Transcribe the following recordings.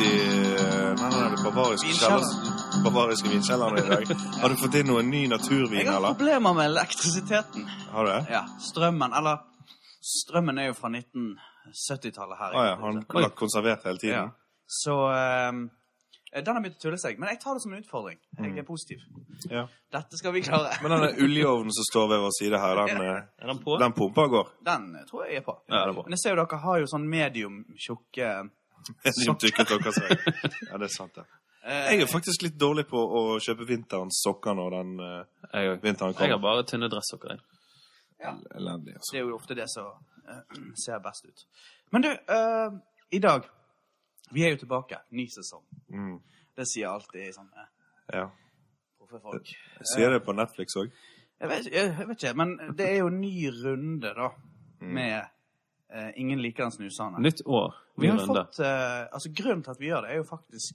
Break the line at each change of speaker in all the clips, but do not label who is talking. eh, bavariske
Vinkjelleren.
kjellers- bavariske vinkjelleren i dag. Har du fått inn noen ny naturvin,
Jeg har
eller?
problemer med elektrisiteten.
Har du det?
Ja, strømmen, eller Strømmen er jo fra 1970-tallet her.
Å ja, han har vært konservert hele
Ja.
tiden.
Så ehm, den har begynt å tulle seg. Men jeg tar det som en utfordring. Jeg er positiv.
Mm. Ja.
Dette skal vi klare.
Men denne oljeovnen som står ved vår side her, den, eh,
Er den på?
den pumpa og går.
Den tror jeg jeg er på.
Ja, det er bra.
Men jeg ser jo dere har jo sånn medium tjukke
De tykket dere seg. Ja, det er sant, det.
eh,
Jeg er faktisk litt dårlig på å kjøpe vinterens sokker når den eh,
Jeg, også.
vinteren
jeg
kommer.
har bare tynne dresssokker. jeg.
Elendig, altså.
Det er jo ofte det som eh, ser best ut. Men du, eh, i dag Vi er jo tilbake. Ny sesong.
Mm.
Det sier alltid sånne
Ja.
proffe folk.
Jeg sier det på Netflix òg.
Jeg vet, jeg, jeg vet ikke, men det er jo en ny runde, da,
Mm.
med eh, Ingen liker den snusende.
Nytt år.
Vi
Ny
har
runde.
fått, eh, altså Grunnen til at vi gjør det, er jo faktisk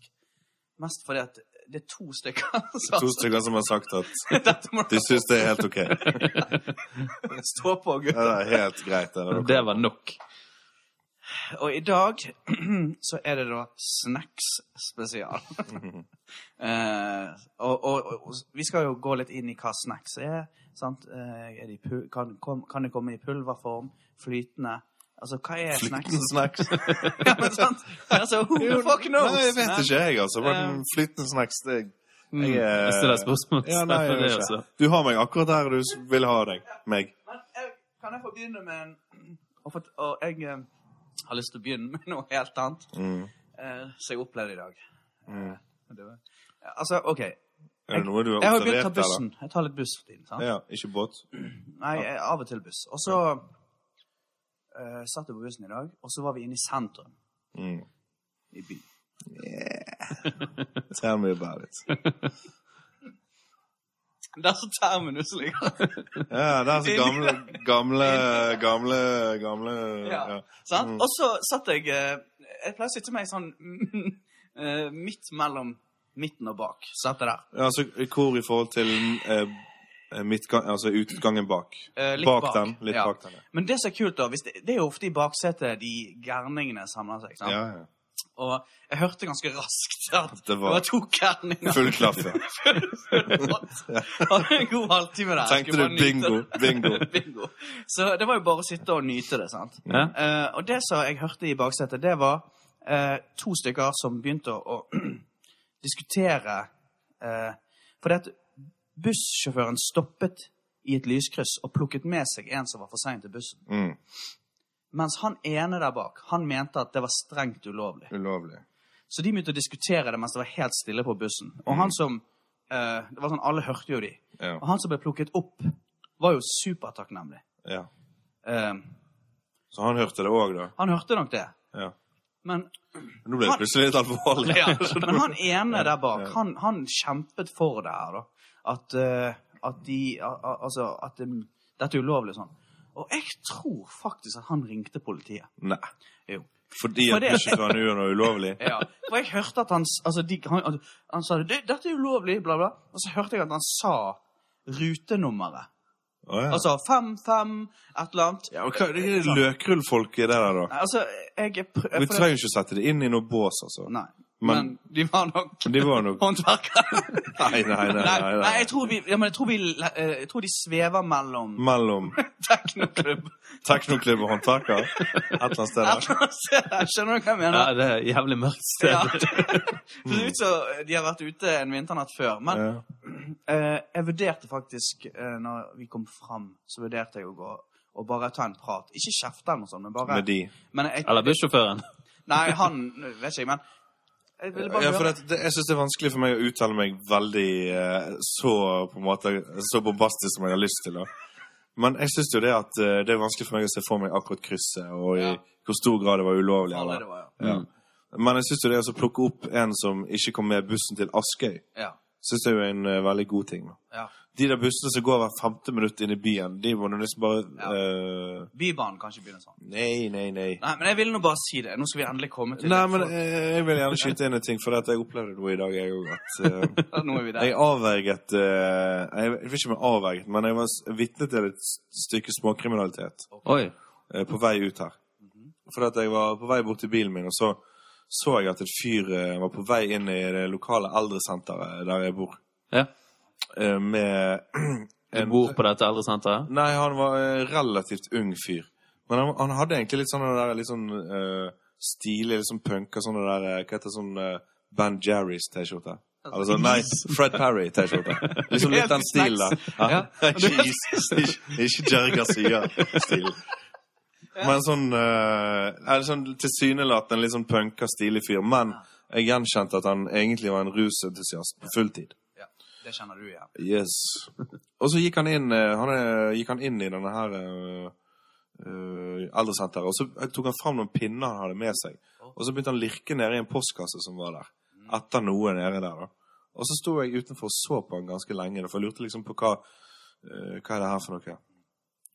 mest fordi at det er to stykker som
To stykker som har sagt at
Dette må
de syns det er helt OK. Ja,
dere stå på,
Det
gutter.
er helt greit. Det er
Det var nok.
Og i dag så er det da snacks spesial. Eh, og, og, og, og vi skal jo gå litt inn i hva snacks er. sant? Eh, er de pul kan, kom, kan det komme i pulverform? Flytende? Altså, hva er
Flytende
snacks?
snacks.
ja, men sant? Altså, who the fuck knows?
Nei, jeg vet ikke, jeg, altså. Men
Eh.
flytende snacks, det
Mm. Jeg,
eh,
stiller spørsmål.
ja, nei, jeg
Derfor det
vet
altså.
også.
ikke. Du har meg akkurat der du s- vil ha deg. Meg.
Men jeg, kan jeg få begynne med en Og, fått- og jeg eh, har lyst til å begynne med noe helt annet
Mm.
eh, som jeg opplevde i dag.
Mm.
Det var, ja, altså, OK.
Er det noe du har
Jeg har jo begynt å ta
observert, eller?
bussen. Jeg tar litt buss for tiden. sant?
Ja, ikke båt?
Nei, jeg, av og til buss. Og så eh, satt jeg på bussen i dag, og så var vi inne i sentrum
Mm.
i byen.
Tell me about it.
Der så terminus liksom. ligger.
Ja, det er så gamle, gamle, gamle, gamle
Ja.
ja.
sant? Og så satt jeg eh, Jeg pleier å sitte meg sånn eh, midt mellom midten og bak. Satt jeg der.
Ja, Altså, hvor i forhold til eh, midtgang, altså utgangen bak?
Eh, litt
bak,
bak,
den. Litt
ja.
bak den, ja.
Men det som er kult, da, hvis det, det er jo ofte i baksetet de gærningene samler seg. sant?
ja, ja.
Og jeg hørte ganske raskt at
Det
det
var-
var, to gærninger.
Full klaff, ja.
Hadde en god halvtime der.
Tenkte
Skulle
du
bare nyte
bingo, bingo.
det. bingo. Så det var jo bare å sitte og nyte det, sant.
Ja.
Eh, og det som jeg hørte i baksetet, det var eh, to stykker som begynte å, å diskutere eh, Fordi at bussjåføren stoppet i et lyskryss og plukket med seg en som var for sein til bussen.
Mm.
Mens han ene der bak, han mente at det var strengt ulovlig.
Ulovlig.
Så de begynte å diskutere det mens det var helt stille på bussen. Og han som eh, Det var sånn, alle hørte jo de.
Ja.
Og han som ble plukket opp, var jo supertakknemlig.
ja.
Eh,
Så han hørte det òg, da?
han hørte nok det.
Ja.
Men,
Nå ble det plutselig litt alvorlig.
ja, men han ene der bak, han, han kjempet for det her, da. At, eh, at de a- a- Altså, at det, dette er ulovlig og sånn. Og jeg tror faktisk at han ringte politiet.
Nei.
Jo.
Fordi
For
at
det-
bussjåføren gjør noe ulovlig?
Ja, for jeg hørte at han, s- altså, de, han, han- han sa det, «Det- dette er ulovlig, bla bla. Og så hørte jeg at han sa rutenummeret.
Å, ja.
Altså fem, fem, et eller annet.
ja, og hva, det er løkrullfolket det der, da.
Nei, Altså, jeg er prø-
Vi
for-
trenger ikke å sette det inn i noe bås, altså.
Nei, men,
Men-
de var nok
Men De var nok
håndverkere.
Nei, nei, nei. nei,
Nei, nei, jeg tror vi, ja, men jeg tror vi eh, Jeg tror de svever
Mm.
mellom
Mellom
teknoklubb
teknoklubb og håndverker? Et eller annet sted der.
Skjønner du hva jeg
ja,
mener?
det er et jævlig mørkt sted.
Ja. Det ser ut som de har vært ute en vinternatt før. Men
Ja.
eh, jeg vurderte faktisk, eh, når vi kom fram, så vurderte jeg å gå og bare ta en prat. Ikke kjefte eller noe sånt, men bare
Med de.
Men jeg,
Eller bussjåføren.
Nei, han vet ikke jeg, men jeg ville bare
Ja, for
høre-
det, det, jeg syns det er vanskelig for meg å uttale meg veldig eh, så på en måte, så bombastisk som jeg har lyst til. Da. Men jeg syns jo det at eh, det er vanskelig for meg å se for meg akkurat krysset, og i
Ja.
hvor stor grad det var ulovlig.
Alle det
Eller.
var, ja.
Ja. Mm. Men jeg syns jo det å så plukke opp en som ikke kom med bussen til Askøy,
Ja.
syns jeg jo er en eh, veldig god ting. Da.
ja.
De der bussene som går hver femte minutt inn i byen, de må nå liksom bare
Ja.
eh,
Bybanen kan ikke begynne sånn.
Nei, nei, nei.
Nei, men jeg ville nå bare si det. Nå skal vi endelig komme til
Nei,
det.
men jeg, jeg vil gjerne skyte inn en ting, for at jeg opplevde noe i dag, jeg òg. At eh,
For- Nå er vi der.
Jeg avverget eh, Jeg vet ikke om jeg avverget, men jeg var s- vitne til et s- stykke småkriminalitet
Oi.
eh, på vei ut her. Fordi at jeg var på vei bort til bilen min, og så så jeg at et fyr eh, var på vei inn i det lokale eldresenteret der jeg bor.
Ja.
eh, Med
Du bor på dette eldresenteret?
Nei, han var en relativt ung fyr. Men han, han hadde egentlig litt sånn det der, litt sånn eh, stilig, litt sånn punk og sånn det der eh, Hva heter det, sånn eh, Ban Jerrys T-skjorte?
Altså,
Eller sånn, nei, Fred Parry-T-skjorte. Liksom litt den stilen der. Ja. Ikke- ikke- Ikke Jerry Garcia-stil. Men sånn, eh, er det sånn tilsynelatende litt sånn punka, stilig fyr. Men jeg gjenkjente at han egentlig var en rusentusiast på fulltid.
Ja, det kjenner du igjen.
Yes. Og så gikk han inn, eh, han, eh, gikk han inn i denne her eh, eh, eldresenteret, og så tok han fram noen pinner han hadde med seg. Og så begynte han å lirke nede i en postkasse som var der. Etter noe nede der, da. Og så sto jeg utenfor og så på han ganske lenge, da, for jeg lurte liksom på hva, eh, hva er det her for noe.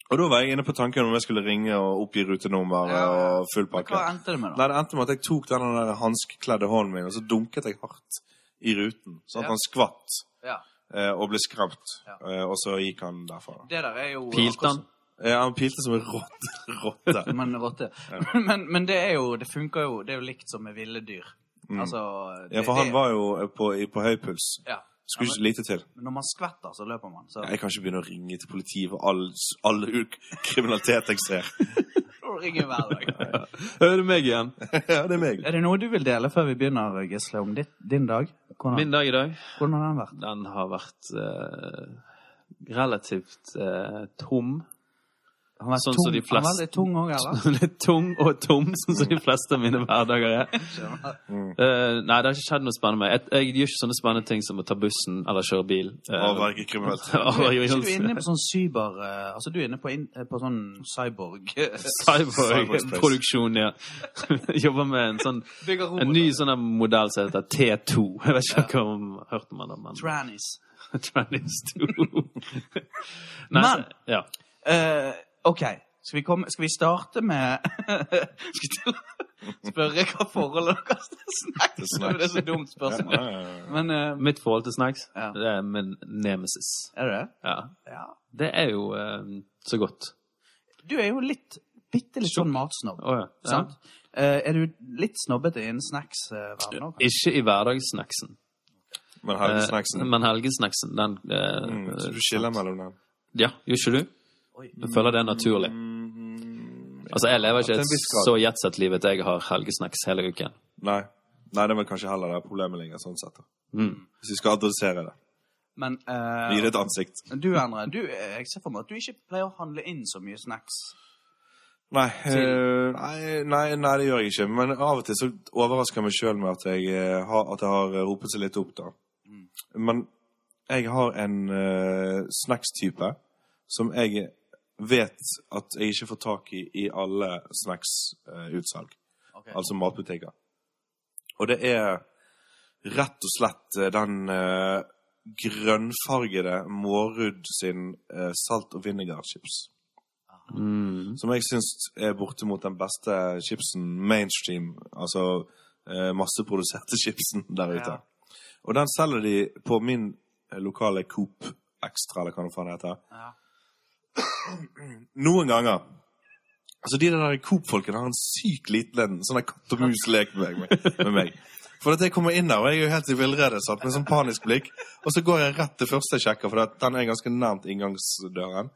Og da var jeg inne på tanken om jeg skulle ringe og oppgi rutenummer
Ja, ja.
og full
Men hva
pakke.
endte det med, da?
Nei, det endte med at jeg tok den der hanskekledde hånden min, og så dunket jeg hardt i ruten, sånn at
Ja.
han skvatt
Ja.
eh, og ble skremt.
Ja.
Eh, og så gikk han derfra. da.
Det der er jo
Pilte han?
Eh, han pilte som en rotte. rotte.
Men rotte. Men, men det er jo Det funker jo Det er jo likt som med ville dyr. Altså
Mm. Ja,
det-
for han
det-
var jo eh, på, i- på høy puls.
ja.
Skulle
Ja,
ikke lite til.
men Når man skvetter, så løper man. Så
Jeg kan ikke begynne å ringe til politiet for all, all u- kriminalitet jeg ser.
så ringer jeg hver dag.
Hører du meg igjen?
ja, det er meg.
Er det noe du vil dele før vi begynner, Gisle, om ditt, din dag? Hvordan,
Min dag i dag,
hvordan har den vært?
den har vært eh, relativt eh, tom.
Han har vært
Sånn
tung,
som de
Han var
fleste-
litt tung òg, eller?
Litt tung og tom, sånn som de fleste av mine hverdager er. Eh, nei, det har ikke skjedd noe spennende med Jeg, jeg gjør ikke sånne spennende ting som å ta bussen eller kjøre bil. eh,
Å være kriminelt.
Du er ikke du
Avvergelse.
inne på sånn cyber... eh, altså, du er inne på, in, eh, på sånn cyborg...
Cyberspace.
Cyborg-produksjon, ja. Jobber med en sånn en ny sånn der modell som heter T2. Jeg vet ikke om har hørt om den, men
Trannies.
Trannies 2. Nei,
Men-
så- ja.
Eh, OK. Skal vi, komme, skal vi starte med Skal vi til- spørre hva forholdet deres til snacks
Til
er?
snacks.
Det er så dumt spørsmål. Men eh,
Mitt forhold til snacks,
Ja.
det er min nemesis.
Er det det?
Ja.
Ja.
Det er jo eh, så godt.
Du er jo litt Bitte litt sånn matsnobb.
Å, ja. Ja.
Sant? Eh, er du litt snobbete innen eh, snacks-verdenen òg?
Ikke i hverdagssnacksen.
Men
eh,
helgesnacksen
Men helgesnacksen, den eh,
mm, Så du skiller mellom dem?
Ja, gjør ikke du?
Oi.
Jeg føler det er naturlig. Altså, jeg lever ikke
Mm. Til en
et
viss grad.
så jetset-liv at jeg har helgesnacks hele uken.
Nei. Nei, det er vel kanskje heller der problemet ligger, sånn sett. da.
Mm.
Hvis vi skal adressere det.
Men
Gi
eh,
det et ansikt.
du, Endre, du, eh, jeg ser for meg at du ikke pleier å handle inn så mye snacks.
Nei, eh, nei, nei, nei, det gjør jeg ikke. Men av og til så overrasker jeg meg sjøl med at jeg, eh, har, at jeg har eh, ropet seg litt opp, da. Men jeg har en eh, snacks-type som jeg vet at jeg ikke får tak i i alle snacks-utsalg.
Ok.
Altså matbutikker. Og det er rett og slett eh, den eh, grønnfargede Mårud sin eh, salt- og vinegarchips
Mm.
som jeg syns er bortimot den beste chipsen mainstream, altså eh, masseproduserte chipsen der ute.
Ja.
Og den selger de på min eh, lokale Coop Extra, eller hva det faen heter.
Ja.
Noen ganger. Altså, de der Coop-folkene har en sykt liten sånn der katt og mus-lek med, meg- med meg. For at jeg kommer inn der, og jeg er jo helt i villrede, sant, med sånn panisk blikk. Og så går jeg rett til første jeg sjekker, for at den er ganske nærmt inngangsdøren.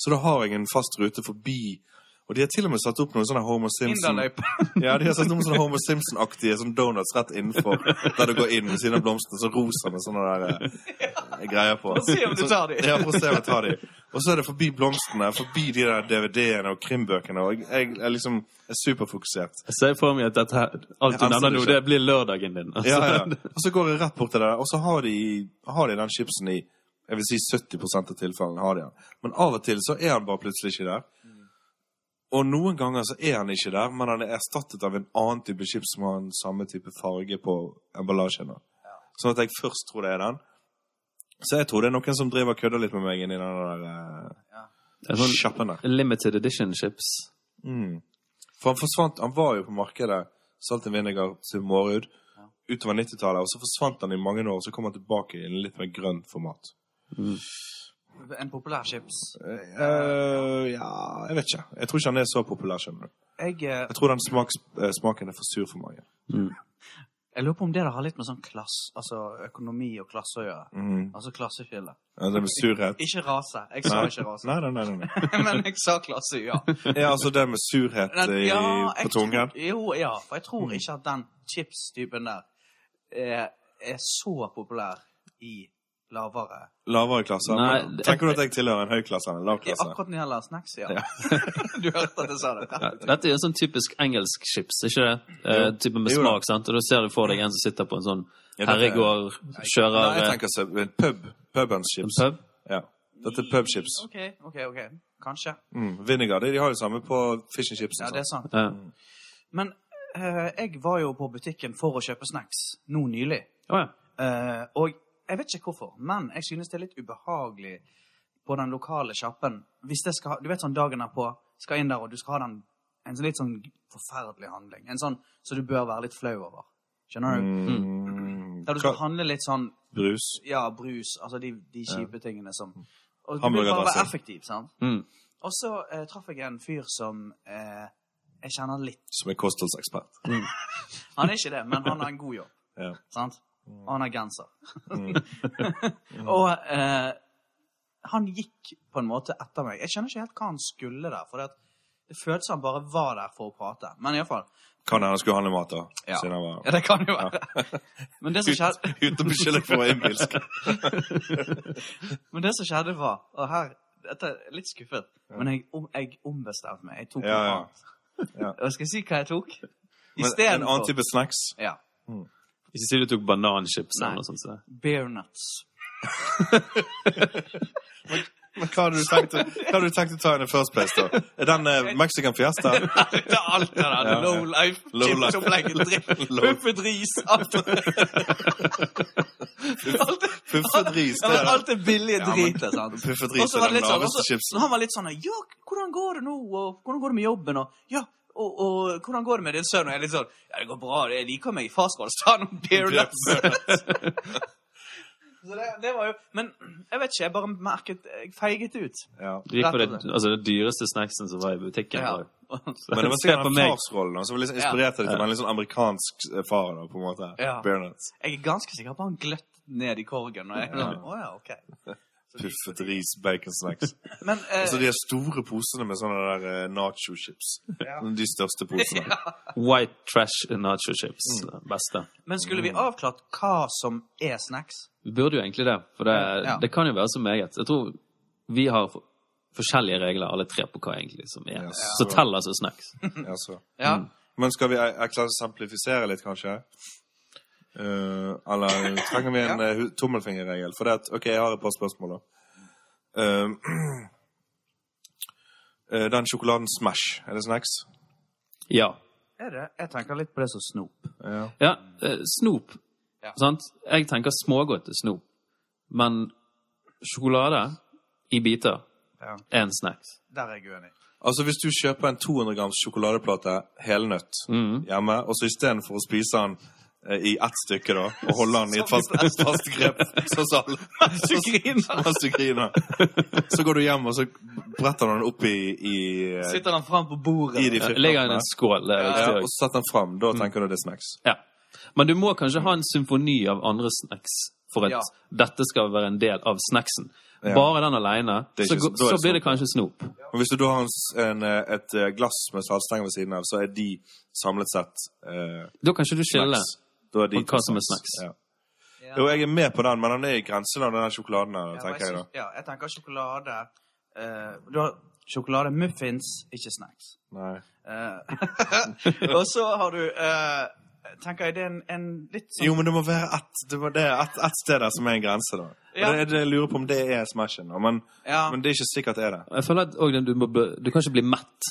Så da har jeg en fast rute forbi. Og de har til og med satt opp noen sånne Homer Simpson...
Inderløype.
Ja, de har satt noen sånne Homer Simpson-aktige sånn donuts rett innenfor, der du går inn ved siden av blomstene, så rosa med sånne der eh, greier på.
Se om du tar de.
Ja, for å se om jeg tar de. Og så er det forbi blomstene, forbi de der DVD-ene og krimbøkene, og jeg, jeg, er liksom er superfokusert.
Jeg ser for meg at dette, her- alt du
Jeg anser
nevner
det
nå,
ikke.
det blir lørdagen din. Altså.
Ja, ja. Og så går jeg rett bort til det, og så har de, har de den chipsen i, jeg vil si 70 av tilfellene har de den. Men av og til så er han bare plutselig ikke der. Og noen ganger så er han ikke der, men han er erstattet av en annen type chips som har den samme type farge på emballasjen. da. Sånn at jeg først tror det er den. Så jeg tror det er noen som driver og kødder litt med meg inni den der eh,
En sånn
sjappen der.
limited edition chips.
Mm. For han forsvant, han var jo på markedet, Salt and Vinegar til Mårud, utover 90-tallet, og så forsvant han i mange år, og så kom han tilbake i en litt mer grønn format.
En populær chips.
Eh, ja, jeg vet ikke. Jeg tror ikke han er så populær, skjønner du.
Jeg, eh,
Jeg tror den smaks, eh, smaken er for sur for mange.
jeg lurer på om det der har litt med sånn klass, altså økonomi og klasse å gjøre.
Mm.
Altså klasseskille.
Ja, Det med surhet.
Ikke rase. Jeg sa ikke rase.
Nei, nei, nei, nei, nei.
Men jeg sa klasse, ja.
Ja, altså det med surhet
Men,
i,
ja, jeg
på tungen. Mm.
tror- Jo, ja. For jeg tror ikke at den chips-typen der er, er så populær i lavere
Lavere klasse.
Nei,
Men
det-
Tenker du at jeg tilhører en høy klasse eller en lav
I
klasse?
akkurat når det gjelder snacks, ja. du hørte at jeg sa det.
Ja, Dette er jo sånn typisk engelsk chips, ikke det? Eh,
Jo.
type med
Jo da.
smak, sant? Og da ser du for deg en som sitter på en sånn
Ja, dette er-
herregård,
Nei,
kjører
jeg
eh,
tenker så, en pub. Pubens
en
chips.
pub.
Ja. Dette er pubchips.
OK, ok, ok. Kanskje.
Mm. Vinegar, de, de har jo samme på fish and chips.
Ja,
og sånn.
det er
sånt.
sant.
Ja.
Men eh, jeg var jo på butikken for å kjøpe snacks nå nylig.
Å ja.
Eh, og jeg vet ikke hvorfor, men jeg synes det er litt ubehagelig på den lokale sjappen. Hvis jeg skal ha, du vet sånn dagen er på, skal inn der, og du skal ha den, en sånn litt sånn forferdelig handling. En sånn som du bør være litt flau over. Skjønner du?
Mm.
Der du skal
Hva-
handle litt sånn,
Brus.
ja, brus, altså de, de kjipe tingene som... Og du vil bare være
Hamburgerdressing.
effektiv, sant?
Mm.
Og så eh, traff jeg en fyr som eh, jeg kjenner litt.
Som er kostholdsekspert.
Han er ikke det, men han har en god jobb.
Ja.
Sant? Og han har genser.
Mm.
og eh, han gikk på en måte etter meg. Jeg skjønner ikke helt hva han skulle der. For det, at det føltes som han bare var der for å prate. Men iallfall
Kan hende han skulle handle mat, da.
Ja.
Siden han var
Ja, det kan jo være. Men det som skjedde,
Uten å beskylde for å være innbilsk.
men det som skjedde var Og her dette er litt skuffet, men jeg, om, jeg ombestemte meg. Jeg tok
Ja,
noe
ja.
annet.
Ja.
Og skal jeg si hva jeg tok?
Men En annen
Istedenfor
type snacks.
ja,
Ikke si du tok bananchips
Nei.
eller noe sånt. Så.
bear nuts.
Men hva hadde du tenkt, å- hva hadde du tenkt å ta in the first place, da? Er den eh, Mexican fiesta?
Det er alt det der.
Ja.
Low life,
Low life.
chipsopplegget, drikk,
Low-
puffet ris, alt. alt
Puffet ris,
ja,
det
men
er
alt det billige
Ja, men-
dritet, sant.
Puffet ris
liksom. Og så
er
var
den
det litt sånn, og
laveste
så-
chipsen.
han var litt sånn Ja, hvordan går det nå? Og hvordan går det med jobben? Og ja, og, og hvordan går det med din sønn? Og jeg er litt sånn Ja, det går bra. Jeg liker meg i farskålstand og beer nuts. Så det, det var jo Men jeg vet ikke, jeg bare merket Jeg feiget ut.
Ja.
Du gikk for det,
Rett og slett.
altså, det dyreste snacksen som var i butikken.
Ja.
eller?
Men det var
Se
sikkert
på
den
meg.
farsrollen da, som var liksom inspirert deg til en litt sånn amerikansk eh, far. da, på en sånn måte.
Ja.
Bear nuts.
Jeg er ganske sikker på han gløtt ned i korgen. Og jeg, sånn,
Ja.
Å ja, ok.
Puffet ris, bacon snacks.
Men eh,
Altså de er store posene med sånne der eh, nacho chips.
Ja.
De største posene.
White trash nacho chips. det Beste.
Men skulle vi avklart hva som er snacks?
Vi burde jo egentlig det, for det,
Ja.
det kan jo være så meget. Jeg tror vi har for- forskjellige regler, alle tre, på hva egentlig som er.
Ja,
Så
så-
tell altså snacks.
Ja, så.
Ja.
Men skal vi eh, eksemplifisere litt, kanskje? Eh, eller trenger vi en eh, hu- tommelfingerregel? For det at, ok, jeg har et par spørsmål, da. Eh, eh, den sjokoladen Smash, er det snacks?
Ja.
Er det? Jeg tenker litt på det som snop.
Ja.
Ja, eh, snop.
Ja.
Sant? Jeg tenker smågodt er snop. Men sjokolade i biter
Ja.
er en snacks.
Der er jeg uenig.
Altså, hvis du kjøper en 200 grams sjokoladeplate helnøtt hjemme, og så istedenfor å spise den eh, i ett stykke, da, og holde den i et fast, fast grep, sånn som alle-
Du griner!
mens du griner, så går du hjem, og så bretter du den opp i, i eh,
Sitter han fram på bordet?
I de
Det Eh, ligger i en skål. Det er
Ja,
viktig
og
også.
sett den fram. Da tenker du det er snacks.
Ja. Men du må kanskje ha en symfoni av andre snacks for at
Ja.
dette skal være en del av snacksen.
Ja.
Bare den alene,
Det er
så,
ikke-
går-
da er
så
det
blir det kanskje snop.
Men hvis du da har en, s- en, eh, et eh, glass med saltstenger ved siden av, så er de samlet sett eh,
Da kan ikke du skille.
snacks. Da er
på hva som er snacks.
Ja.
Ja.
Jo, jeg er med på den, men den er i grensen av den der sjokoladen her,
Ja,
tenker jeg da.
synes- Ja, jeg tenker sjokolade eh, Du har sjokolademuffins, ikke snacks.
Nei.
Eh, og så har du eh, Tenker jeg det er en, en litt sånn
Jo, men det må være ett det må- det er ett- ett sted der som er en grense, da. Og
Ja.
det, er det jeg lurer på om det er Smashen, da, men,
Ja.
men det er ikke sikkert det er det.
Jeg føler at og den- du, må, bø- du kan ikke bli mett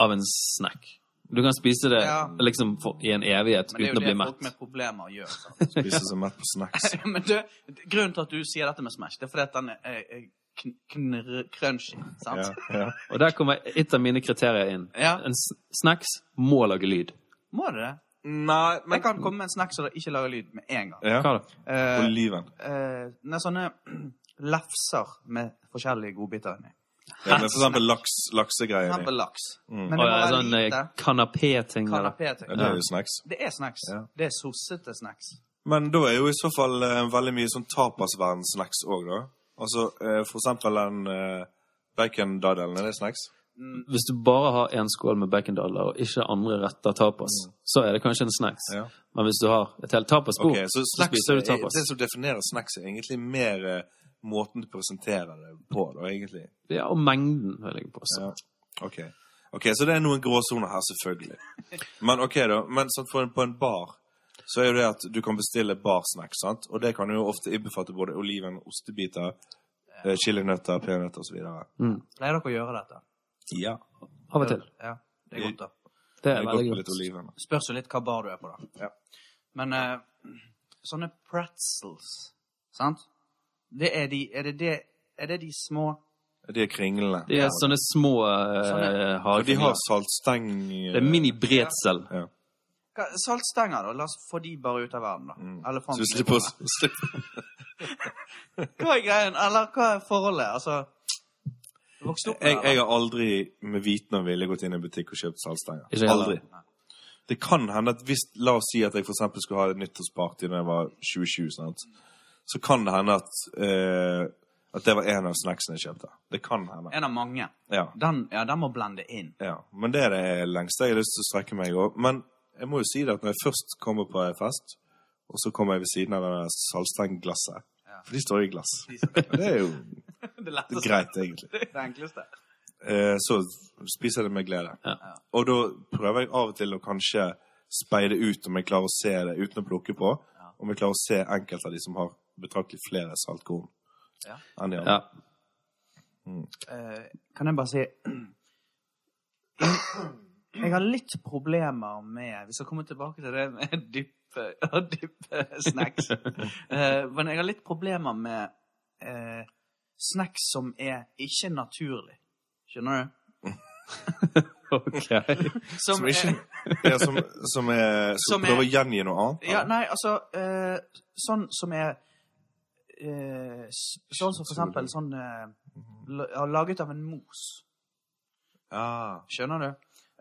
av en snack. Du kan spise det
Ja.
liksom for, i en evighet
Men det er
uten
jo det
å bli
folk
mett.
med problemer gjør. Sant?
Spise seg mett på snacks.
Men du, grunnen til at du sier dette med Smash, det er fordi at den er, er kn knr crunchy. Sant?
Ja, ja.
Og der kommer et av mine kriterier inn.
Ja.
En s- snacks må lage lyd.
Må det det?
Nei,
Jeg kan komme med en snack som ikke lager lyd med en gang.
ja.
Hva da?
Eh,
Oliven.
eh, nei, sånne lefser med forskjellige godbiter inni.
Ja, men for eksempel laks, laksegreier. i.
For eksempel laks. Men
Og
det var
sånn eh,
lite
kanapé-ting. eller?
Mm. Ja,
kanapé-ting.
det er jo snacks.
Det er snacks.
Ja.
Det er sossete snacks.
Men da er jo i så fall eh, veldig mye sånn tapasverden-snacks òg, da. Altså eh, for eksempel den eh, bacondaddelen, er det snacks?
Hvis du bare har én skål med bacondollar og ikke andre retter tapas, så er det kanskje en snacks.
Mm. Ja.
Men hvis du har et helt tapasbord,
Ok, så
så
Oh, snacks,
spiser du
er-
tapas.
det som definerer snacks, er egentlig mer eh, måten du presenterer det på, da, egentlig.
Ja, og mengden, vil jeg påstå.
Ja. Ok. ok, så det er noen gråsoner her, selvfølgelig. Men ok da, men sånn for en, på en bar så er jo det at du kan bestille barsnacks, sant? Og det kan jo ofte innbefatte både oliven, ostebiter, eh, chilinøtter, peanøtter osv.
Pleier dere å gjøre dette?
Ja.
Av og til.
Ja, det er godt, da.
Det
Det
er
er godt
veldig
med
godt.
litt oliven.
Spørs jo litt hva bar du er på, da.
Ja.
Men eh, sånne pretzels, sant? Det er de Er det, det, er det de små
De er kringlene.
De er sånne små uh,
Sånne.
Og de har
hagekringer.
saltsteng eh,
Det er mini-bretsel.
Ja.
Hva- Saltstenger, da. La oss få de bare ut av verden, da. Eller faen,
Mm. Så vi slipper å slipper-
Hva er greien? Eller hva er forholdet? Altså Vokste opp med
jeg,
det?
jeg har aldri med viten og vilje gått inn i en butikk og kjøpt saltstenger.
Ikke heller.
Aldri. Det kan hende at hvis La oss si at jeg for eksempel skulle ha et nyttårsparty da jeg var 27, sant? så kan det hende at eh, at det var en av snacksene jeg kjøpte. Det kan hende.
En av mange.
Ja.
Den, ja, den må blende inn.
ja. Men det er det lengste jeg har lyst til å strekke meg over. Men jeg må jo si det at når jeg først kommer på en fest, og så kommer jeg ved siden av det der saltstengglasset
Ja.
For de står i glass. Altså,
De
Det er jo
Det
det
letteste.
er greit, egentlig.
Det er det enkleste.
Eh, så spiser jeg det med glede.
Ja.
Og da prøver jeg av og til å kanskje speide ut om jeg klarer å se det uten å plukke på. Om jeg klarer å se enkelte av de som har betraktelig flere saltkorn
Ja.
enn de andre.
Ja.
Eh, kan jeg bare si Jeg har litt problemer med Vi skal komme tilbake til det med dyppe, å dyppe snacks. Eh, men jeg har litt problemer med eh, snacks som er ikke naturlig. Skjønner du?
Ok.
Som ikke ja, som, som, er, som,
Som er-
prøver å gjengi noe annet.
Ja, nei, altså eh, Sånn som er eh, s- Sånn som for eksempel sånn eh, la- ja, Laget av en mos.
Ah,
Skjønner du?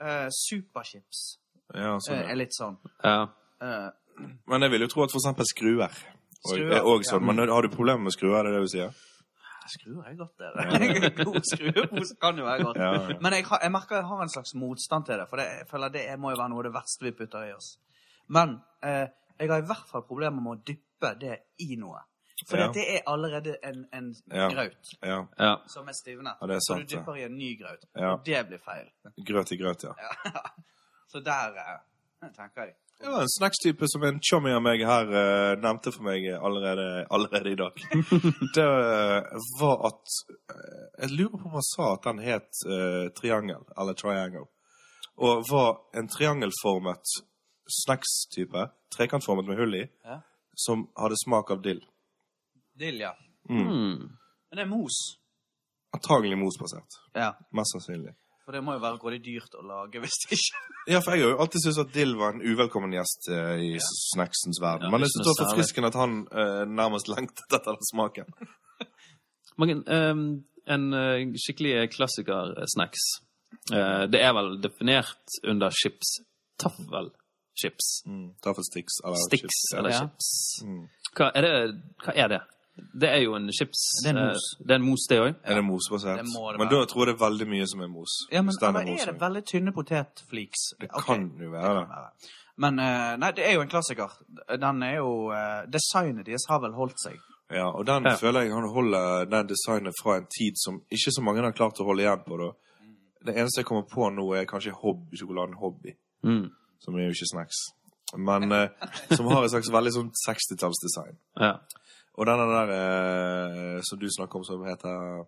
Eh, superchips
ja, sånn,
eh,
ja.
er litt sånn.
Ja.
Eh,
Men jeg vil jo tro at for eksempel skruer og,
Skruer,
er også sånn.
ja.
Men har du problemer med skruer, er det det du sier?
skruer er godt, det. det. God skruepose kan jo være godt.
Ja, ja.
Men jeg, har, jeg merker jeg har en slags motstand til det, for det, jeg føler det må jo være noe av det verste vi putter i oss. Men eh, jeg har i hvert fall problemer med å dyppe det i noe. For
Ja.
det er allerede en, en
Ja.
graut
Ja.
ja.
som er stivnet.
Ja, det er
så
sant,
du
det.
dypper i en ny graut,
Ja.
og det blir feil.
Grøt i grøt, ja.
Så der eh, tenker jeg.
Det var en snackstype som en chummy av meg her eh, nevnte for meg allerede, allerede i dag. det var at eh, Jeg lurer på om han sa at den het eh, triangel, eller triangle. Og var en triangelformet snackstype, trekantformet med hull i,
Ja.
som hadde smak av dill.
Dill, ja.
Mm.
Men det er mos.
Antagelig mosbasert.
Ja,
Mest sannsynlig.
for det må jo være grådig dyrt å lage hvis det ikke
Ja, for jeg har jo alltid syntes at Dill var en uvelkommen gjest eh, i snacksens verden.
Ja,
Men jeg
ikke
syns det
noe
var forfriskende at han eh, nærmest lengtet etter den smaken.
Mange, ehm, en eh, skikkelig klassikersnacks. Uh, det er vel definert under chips. Taffelchips.
Mm. Taffelsticks eller
Sticks
chips, ja. Hmm.
eller
Ja.
chips. Hva er, det, hva er det? Det er jo en chips.
Det er en
eh,
mos.
det er en mos, det òg.
Er det mosbasert?
Det må det
Men da
være.
tror jeg det er veldig mye som er mos.
Ja, men
Hvis den
eller
mos,
er det
så-
veldig tynne potetfliks?
det
Ok.
kan jo være det.
Men eh, nei, det er jo en klassiker. Den er jo eh, Designet deres har vel holdt seg.
Ja, og den
Ja.
føler jeg han holder den designet fra en tid som ikke så mange har klart å holde igjen på. Da. Det eneste jeg kommer på nå, er kanskje hobby, sjokoladen Hobby,
Mm.
som er jo ikke snacks. Men eh, som har et slags veldig sånn 60-tallsdesign.
Ja.
Og denne der eh, som du snakker om, som heter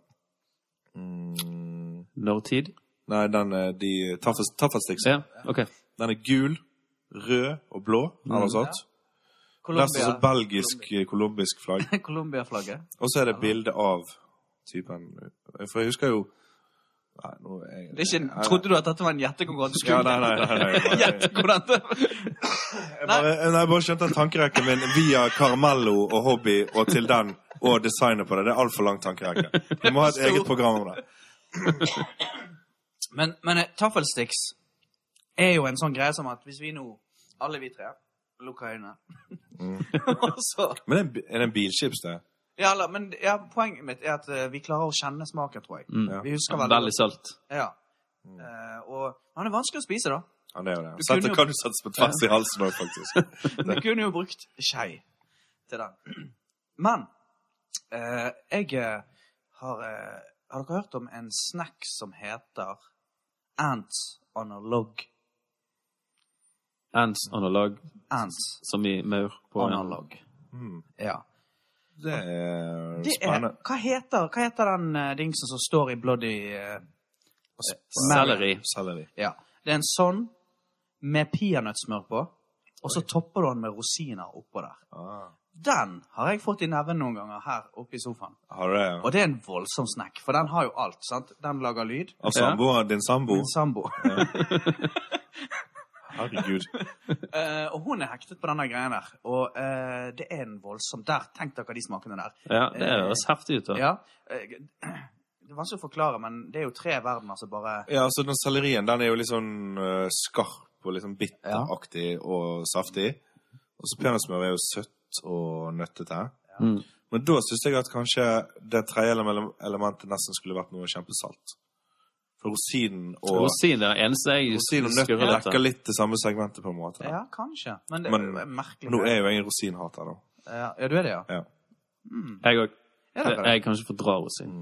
mm,
Når tid?
Nei, den eh, de Taffes- Taffelsticks.
Ja, OK.
Den er gul, rød og blå,
Mm.
eller noe sånt. Nesten som
Colombia-
belgisk eh, colombisk flagg.
Colombia-flagget.
Og så er det bilde av typen For jeg husker jo Nei, nå er jeg,
Det er ikke,
jeg-
trodde du at dette var en gjettekonkurranse?
Ja, nei, nei, nei, nei, nei.
Gjett hvordan det
Jeg bare, nei, jeg bare skjønte at tankerekken min via Caramello og hobby og til den og designet på det, det er altfor lang tankerekke. Du må ha et eget program om det.
Men, men eh, taffelsticks er jo en sånn greie som at hvis vi nå, alle vi tre, lukker øynene Og så
Men er det en bi- er det en bilchips, det?
ja, eller, men ja, Poenget mitt er at eh, vi klarer å kjenne smaken, tror jeg.
Ja.
Vi husker veldig
Veldig salt.
Ja. Eh, og han er vanskelig å spise, da.
Ja, det er jo det.
Du
Sett,
kunne jo-
det kan du settes på tvers i halsen òg, faktisk.
Du kunne jo brukt skei til den. Men eh, jeg eh, har eh, Har dere hørt om en snack som heter Ants on a log?
Ants analog,
Ants
som i maur på
on a
en
log. Ja.
Hmm. Det er
Det er,
Eh, spennende.
hva, heter, hva heter den eh, dingsen som står i bloody eh,
Selleri.
Selleri.
Ja. Det er en sånn med peanøttsmør på, og så topper du den med rosiner oppå der.
Ah.
Den har jeg fått i neven noen ganger her oppe i sofaen.
Har du det?
Og det er en voldsom snack, for den har jo alt. sant? Den lager lyd.
Av samboeren din sambo?
Min sambo.
Herregud.
Eh, og hun er hektet på denne greia der. Og eh, det er en voldsom Der, tenk dere de smakene der.
Ja, det høres heftig ut. da.
Ja. eh, det er vanskelig å forklare, men det er jo tre verdener som bare
Ja, altså den sellerien, den er jo litt sånn eh, skarp og litt sånn bitteraktig og saftig. Og så peanøttsmør er jo søtt og nøttete.
Mm.
Men da syns jeg at kanskje det tredje ele- elementet nesten skulle vært noe kjempesalt. For rosinen og
Rosin er det eneste jeg
rosin og nøtt
skurrer litt av.
dekker litt det samme segmentet, på en måte.
Ja, kanskje. Men det
Men-
er jo merkelig.
Nå er jo jeg en rosinhater, da.
ja, ja, du er det, ja?
Ja.
Jeg òg.
Er det det?
Jeg kan ikke fordra rosin.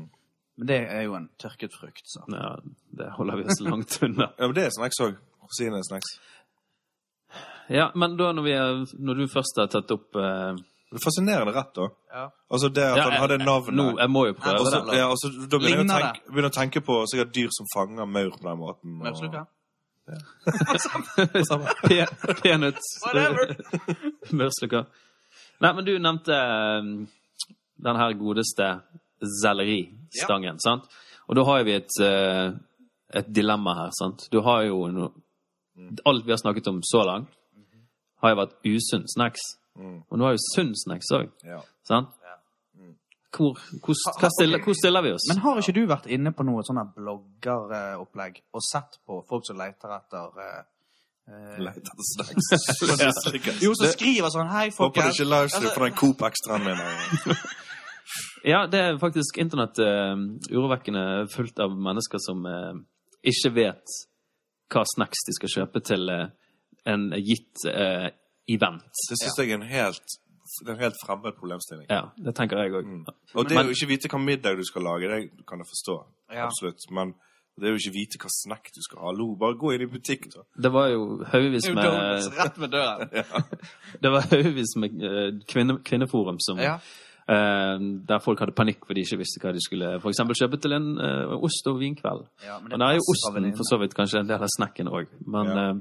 Men det er jo en tørket frukt, så.
Ja, det holder vi oss langt unna.
Ja, men det er snacks òg. Rosin er snacks.
Ja, men da når, vi er, når du først har tatt opp eh,
Det er fascinerende rett, da.
Ja.
Altså det at
ja,
han hadde
jeg-
navnet.
Nå, jeg må jo prøve
Og
det.
så-
Eller-
ja, og så da begynner jeg å
Ligner
tenke, begynner å tenke på sikkert dyr som fanger maur på den måten. og-
Mørksluker?
Pe- Peanøtt.
Whatever.
Mørslukker. Nei, men du nevnte um, den her godeste selleristangen, sant? Og da har vi et, eh, et dilemma her, sant? Du har jo no... Alt vi har snakket om så langt, har jo vært usunn snacks. Og nå har jo sunn snacks òg,
Ja.
sant? Hvor, hvor, hva stiller, hvor stiller vi oss?
Men har ikke du vært inne på noe sånn her bloggeropplegg og sett på folk som leter etter eh,
Leit etter snacks.
Jo, som skriver sånn Hei,
Håper det
folkens.
ikke er livestream
Altså-
på den Coop Extraen min. her.
Ja, det er faktisk internett eh, urovekkende fullt av mennesker som eh, ikke vet hva snacks de skal kjøpe til eh, en gitt eh, event.
Det syns jeg er en helt, det er en helt fremmed problemstilling.
Ja, det tenker jeg
Mm.
òg.
Og det å ikke vite hva middag du skal lage, det kan jeg forstå.
Ja.
Absolutt. Men det å ikke vite hva snack du skal ha Lo, bare gå inn i butikken, da.
Det var jo haugevis
Det er jo altså. donuts
med,
rett ved døren.
det var haugevis med eh, kvinne, kvinneforum som
Ja.
eh, Der folk hadde panikk fordi de ikke visste hva de skulle for eksempel kjøpe til en eh, ost- og vinkveld.
Ja, men det
og der er jo
passer vel
osten
inn.
for så vidt kanskje en del av snacken òg, men
Ja.
eh,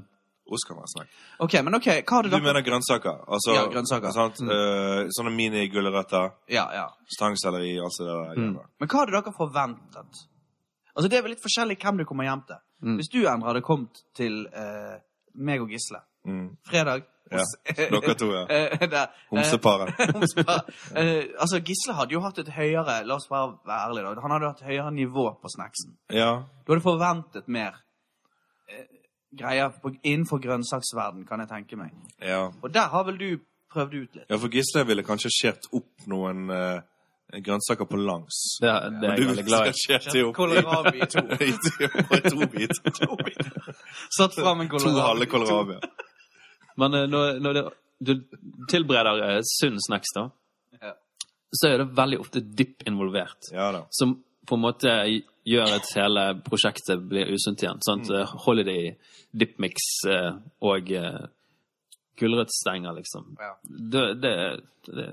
Ost kan være snack.
OK, men OK, hva hadde
Du
dere
mener grønnsaker? Altså,
Ja, grønnsaker. Mm.
Sant? Eh, sånne minigulrøtter,
Ja, ja.
stangselleri, alt det der. greiene.
Men hva hadde dere forventet? Altså, det er vel litt forskjellig hvem du kommer hjem til.
Mm.
Hvis du, Endre, hadde kommet til eh, meg og Gisle
Mm.
fredag
Ja, dere to, ja.
Eh, der, eh,
Homseparet.
Homseparet. Eh, altså, Gisle hadde jo hatt et høyere La oss bare være ærlige, da. Han hadde hatt høyere nivå på snacksen.
Ja.
Du hadde forventet mer eh, greier på, innenfor grønnsaksverden, kan jeg tenke meg.
ja.
Og der har vel du prøvd ut litt?
Ja, for Gisle ville kanskje skjert opp noen eh, grønnsaker på langs.
det, det er jeg veldig glad i.
skjert det opp
Kålrabi i to.
i to, i to biter.
Satt fram en
To halve
kålrabi.
kålrabier.
Men eh, når, når det, du tilbereder eh, sunn snacks, da,
Ja.
så er det veldig ofte dypp involvert.
Ja da.
Som på en måte gjør at hele prosjektet blir usunt igjen. Sant?
Mm.
Eh, Holiday, dyppmix eh, og eh, gulrøttstenger, liksom.
Ja.
Det, det, det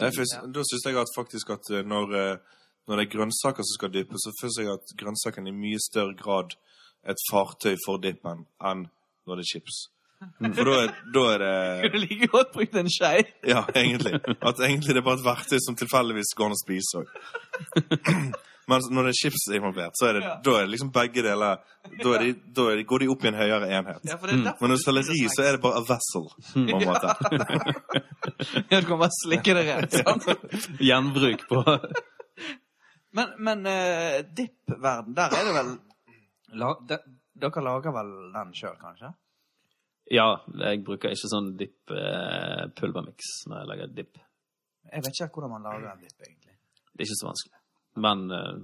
Nei, for, Da syns jeg at faktisk at eh, når, eh, når det er grønnsaker som skal dyppes, så syns jeg at grønnsakene i mye større grad er et fartøy for dippen enn når det er chips. For da er, da er det
Du liker godt brukt en skei.
Ja, egentlig. At egentlig det er bare et verktøy som tilfeldigvis går an å spise òg. Men når det er chips involvert, så er det,
Ja.
da er det liksom begge deler Da, er de, da er de, går de opp i en høyere enhet.
Ja, for det er derfor
Men når
du
det er selleri,
spiser
så er det bare a vessel. På en måte.
snacks. Du kan bare slikke det rett. sant?
Gjenbruk på
Men, men eh, dipp-verden, der er det vel la, de, Dere lager vel den sjøl, kanskje?
Ja, jeg bruker ikke sånn dipp eh, pulvermix når jeg lager dipp.
Jeg vet ikke hvordan man lager en dipp, egentlig.
Det er ikke så vanskelig. Men eh,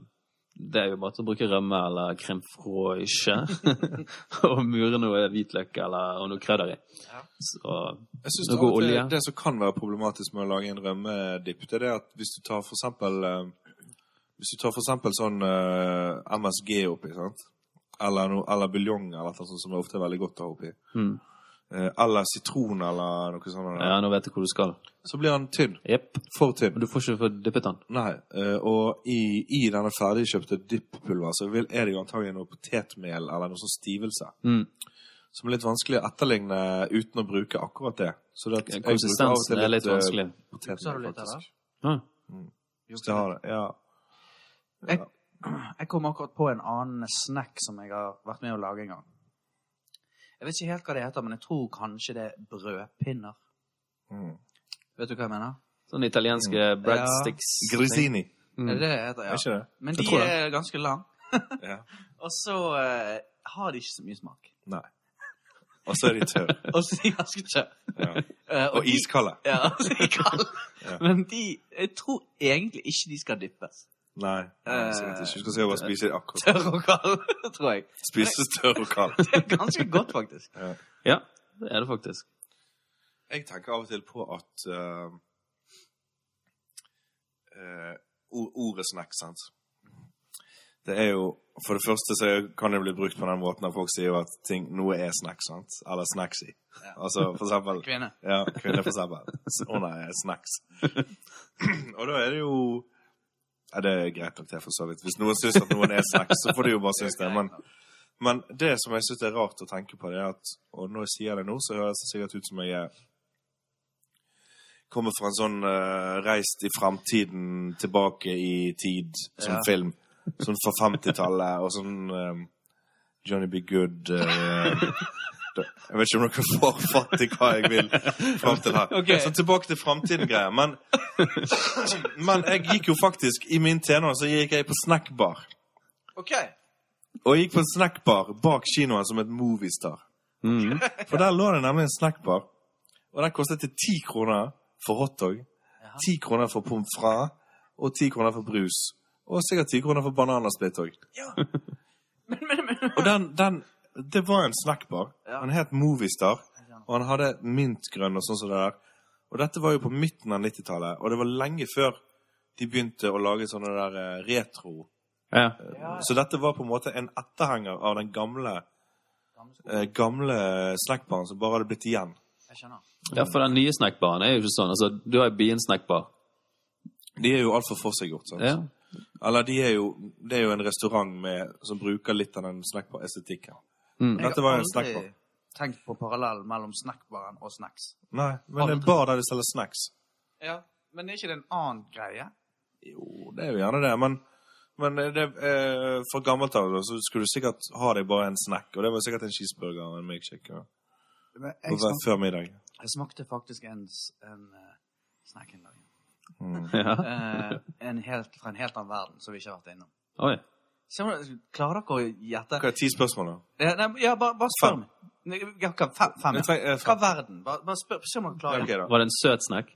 det er jo bare til å bruke rømme eller crème froische. og mure noe hvitløk eller og noe krydder i.
Ja.
Så
Jeg synes
Noe
av og til
olje.
Det som kan være problematisk med å lage en rømmedipp, det er det at hvis du tar for eksempel eh, Hvis du tar for eksempel sånn eh, MSG oppi, sant? Eller, no, eller buljong eller noe sånt som det ofte er veldig godt å ha oppi.
Mm.
Eh, eller sitron eller noe sånt.
ja, nå vet jeg hvor du skal.
Så blir den tynn.
Jepp.
For tynn.
Men du får ikke få dyppet den.
Nei, eh, og i, i denne ferdigkjøpte dippulver så vil, er det jo antagelig noe potetmel eller noe sånn stivelse.
Mm.
Som er litt vanskelig å etterligne uten å bruke akkurat det. Så det at jeg bruker av og til
Konsistensen er litt
eh,
vanskelig.
potetmel,
Sa du litt,
faktisk.
eller?
Ja.
Hvis det har det, ja.
Jeg kom akkurat på en annen snack som jeg har vært med å lage en gang. Jeg vet ikke helt hva det heter, men jeg tror kanskje det er brødpinner.
Mm.
Vet du hva jeg mener?
Sånne Sånn italienske breadsticks.
Grissini,
Mm.
Er det det det heter?
er
Ja.
ikke det?
Men
Jeg
de
tror det.
er ganske lang.
Ja.
Og så eh, har de ikke så mye smak.
Nei. Og så er de tørre.
Og så er de ganske kjøtt.
Ja. Og iskalde.
Ja, og så er de kalde.
Ja.
Men de Jeg tror egentlig ikke de skal dyppes.
Nei,
Eh,
sikkert ikke. Du skal sikkert bare spise det
Eh,
akkurat.
Tørr og kald, tror jeg.
Spise tørr og kald.
Det er ganske godt, faktisk.
Ja, det er det faktisk.
Jeg tenker av og til på at eh, eh, or- ordet snack, sant? Det er jo, for det første så kan det bli brukt på den måten at folk sier jo at ting, noe er snack, sant? Eller snacksy.
Ja.
Altså, for eksempel,
Kvinne.
ja, kvinner for eksempel. Så, Å nei, snacks. Og da er det jo, ja, det er greit nok det for så vidt. Hvis noen synes at noen er snacks, så får de jo bare synes det. Men, men det som jeg synes er rart å tenke på, det er at Og når jeg sier det nå, så høres det sikkert ut som jeg er Kommer fra en sånn eh, reist i framtiden, tilbake i tid, sånn
Ja.
film. Sånn fra 50-tallet, og sånn eh, Johnny Be Good eh, da- Jeg vet ikke om dere får fatt i hva jeg vil fram til her.
Ok.
Så tilbake til framtiden-greier. Men, men jeg gikk jo faktisk I min tenår så gikk jeg på snackbar.
OK.
Og jeg gikk på en snackbar bak kinoen som et moviestar.
Mm.
For der lå det nemlig en snackbar, og den kostet til ti kroner for hotdog, ti kroner for pommes frites, og ti kroner for brus. Og sikkert ti kroner for bananasplitt òg.
Men, men, men.
Og den, den Det var en snackbar.
Ja.
Han het Moviestar, og han hadde mintgrønn og sånn som det der. Og dette var jo på midten av 90-tallet, og det var lenge før de begynte å lage sånne der eh, retro
Ja.
Så dette var på en måte en etterhenger av den gamle eh, gamle snackbaren som bare hadde blitt igjen.
Jeg skjønner.
ja, for den nye snackbaren er jo ikke sånn. Altså, du har jo Bien snackbar.
De er jo altfor forseggjort. sant?
Ja.
Eller de er jo, det er jo en restaurant med, som bruker litt av den snackbar-estetikken.
Mm.
Dette var jo en snackbar.
tenkt på parallell mellom snackbaren og snacks.
Nei, men en bar der de selger snacks.
Ja, Men er ikke det en annen greie?
Jo, det er jo gjerne det, men, men det, eh, for gammelt av da, så skulle du sikkert ha deg bare en snack, og det var sikkert en cheeseburger og en milkshake ja.
Men
på
Jeg
hver
smakte,
før middag.
jeg smakte faktisk en, s- en eh, snack en dag.
Mm.
Ja.
Eh, en helt, fra en helt annen verden som vi ikke har vært innom.
Oi.
Se om dere- Klarer dere å gjette?
Hva er ti spørsmål, da?
Ja, nei, ja, bare, bare spør
Fem.
meg. Nei, Ja, hva, fem, fem,
Jeg
ja.
trenger- eh,
Hva verden? Bare, bare spør, se om dere
Ja,
klarer
ok,
det.
da.
Var det en søt snack?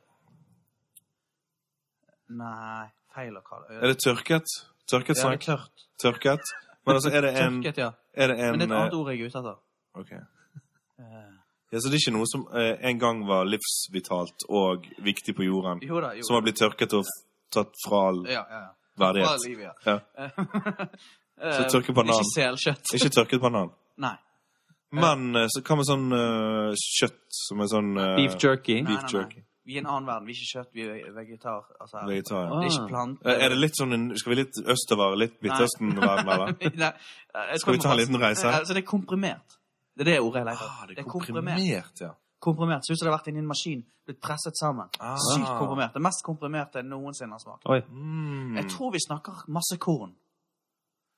Nei, feil å kalle
Er det tørket? Tørket
Ja, det
snack?
er tørt.
Tørket? Men altså, er det en,
Tørket, ja.
er det en
Men det er et
eh,
annet ord jeg er ute etter.
ok.
Eh,
Ja, så det er ikke noe som eh, en gang var livsvitalt og viktig på jorden,
jo da, jo.
som har blitt tørket og f- tatt fra all
Ja, ja, ja. Fra
verdighet?
livet, ja.
Ja. Så tørke banan.
Ikke selkjøtt.
Ikke tørket banan.
Nei.
Men eh, så hva med sånn eh, kjøtt som er sånn eh,
Beef jerky?
Beef
nei, nei.
jerky.
Vi er en annen verden. Vi er ikke kjøtt, vi er vegetar. Altså,
Vegetar.
Det er
Ah.
ikke plant.
Eh, Er det litt sånn, en- Skal vi litt østover, litt Midtøsten-verden, eller?
Nei, jeg
Skal vi
kommer
ta en
fast-
liten reise?
Altså, det er komprimert. Det er det ordet jeg leter etter.
Ah, det er komprimert, ja.
Komprimert. Ser ut som det har vært inni en maskin. Blitt presset sammen.
Ah.
Sykt komprimert. Det mest komprimerte jeg noensinne har smakt.
Oi.
Mm.
Jeg tror vi snakker masse korn.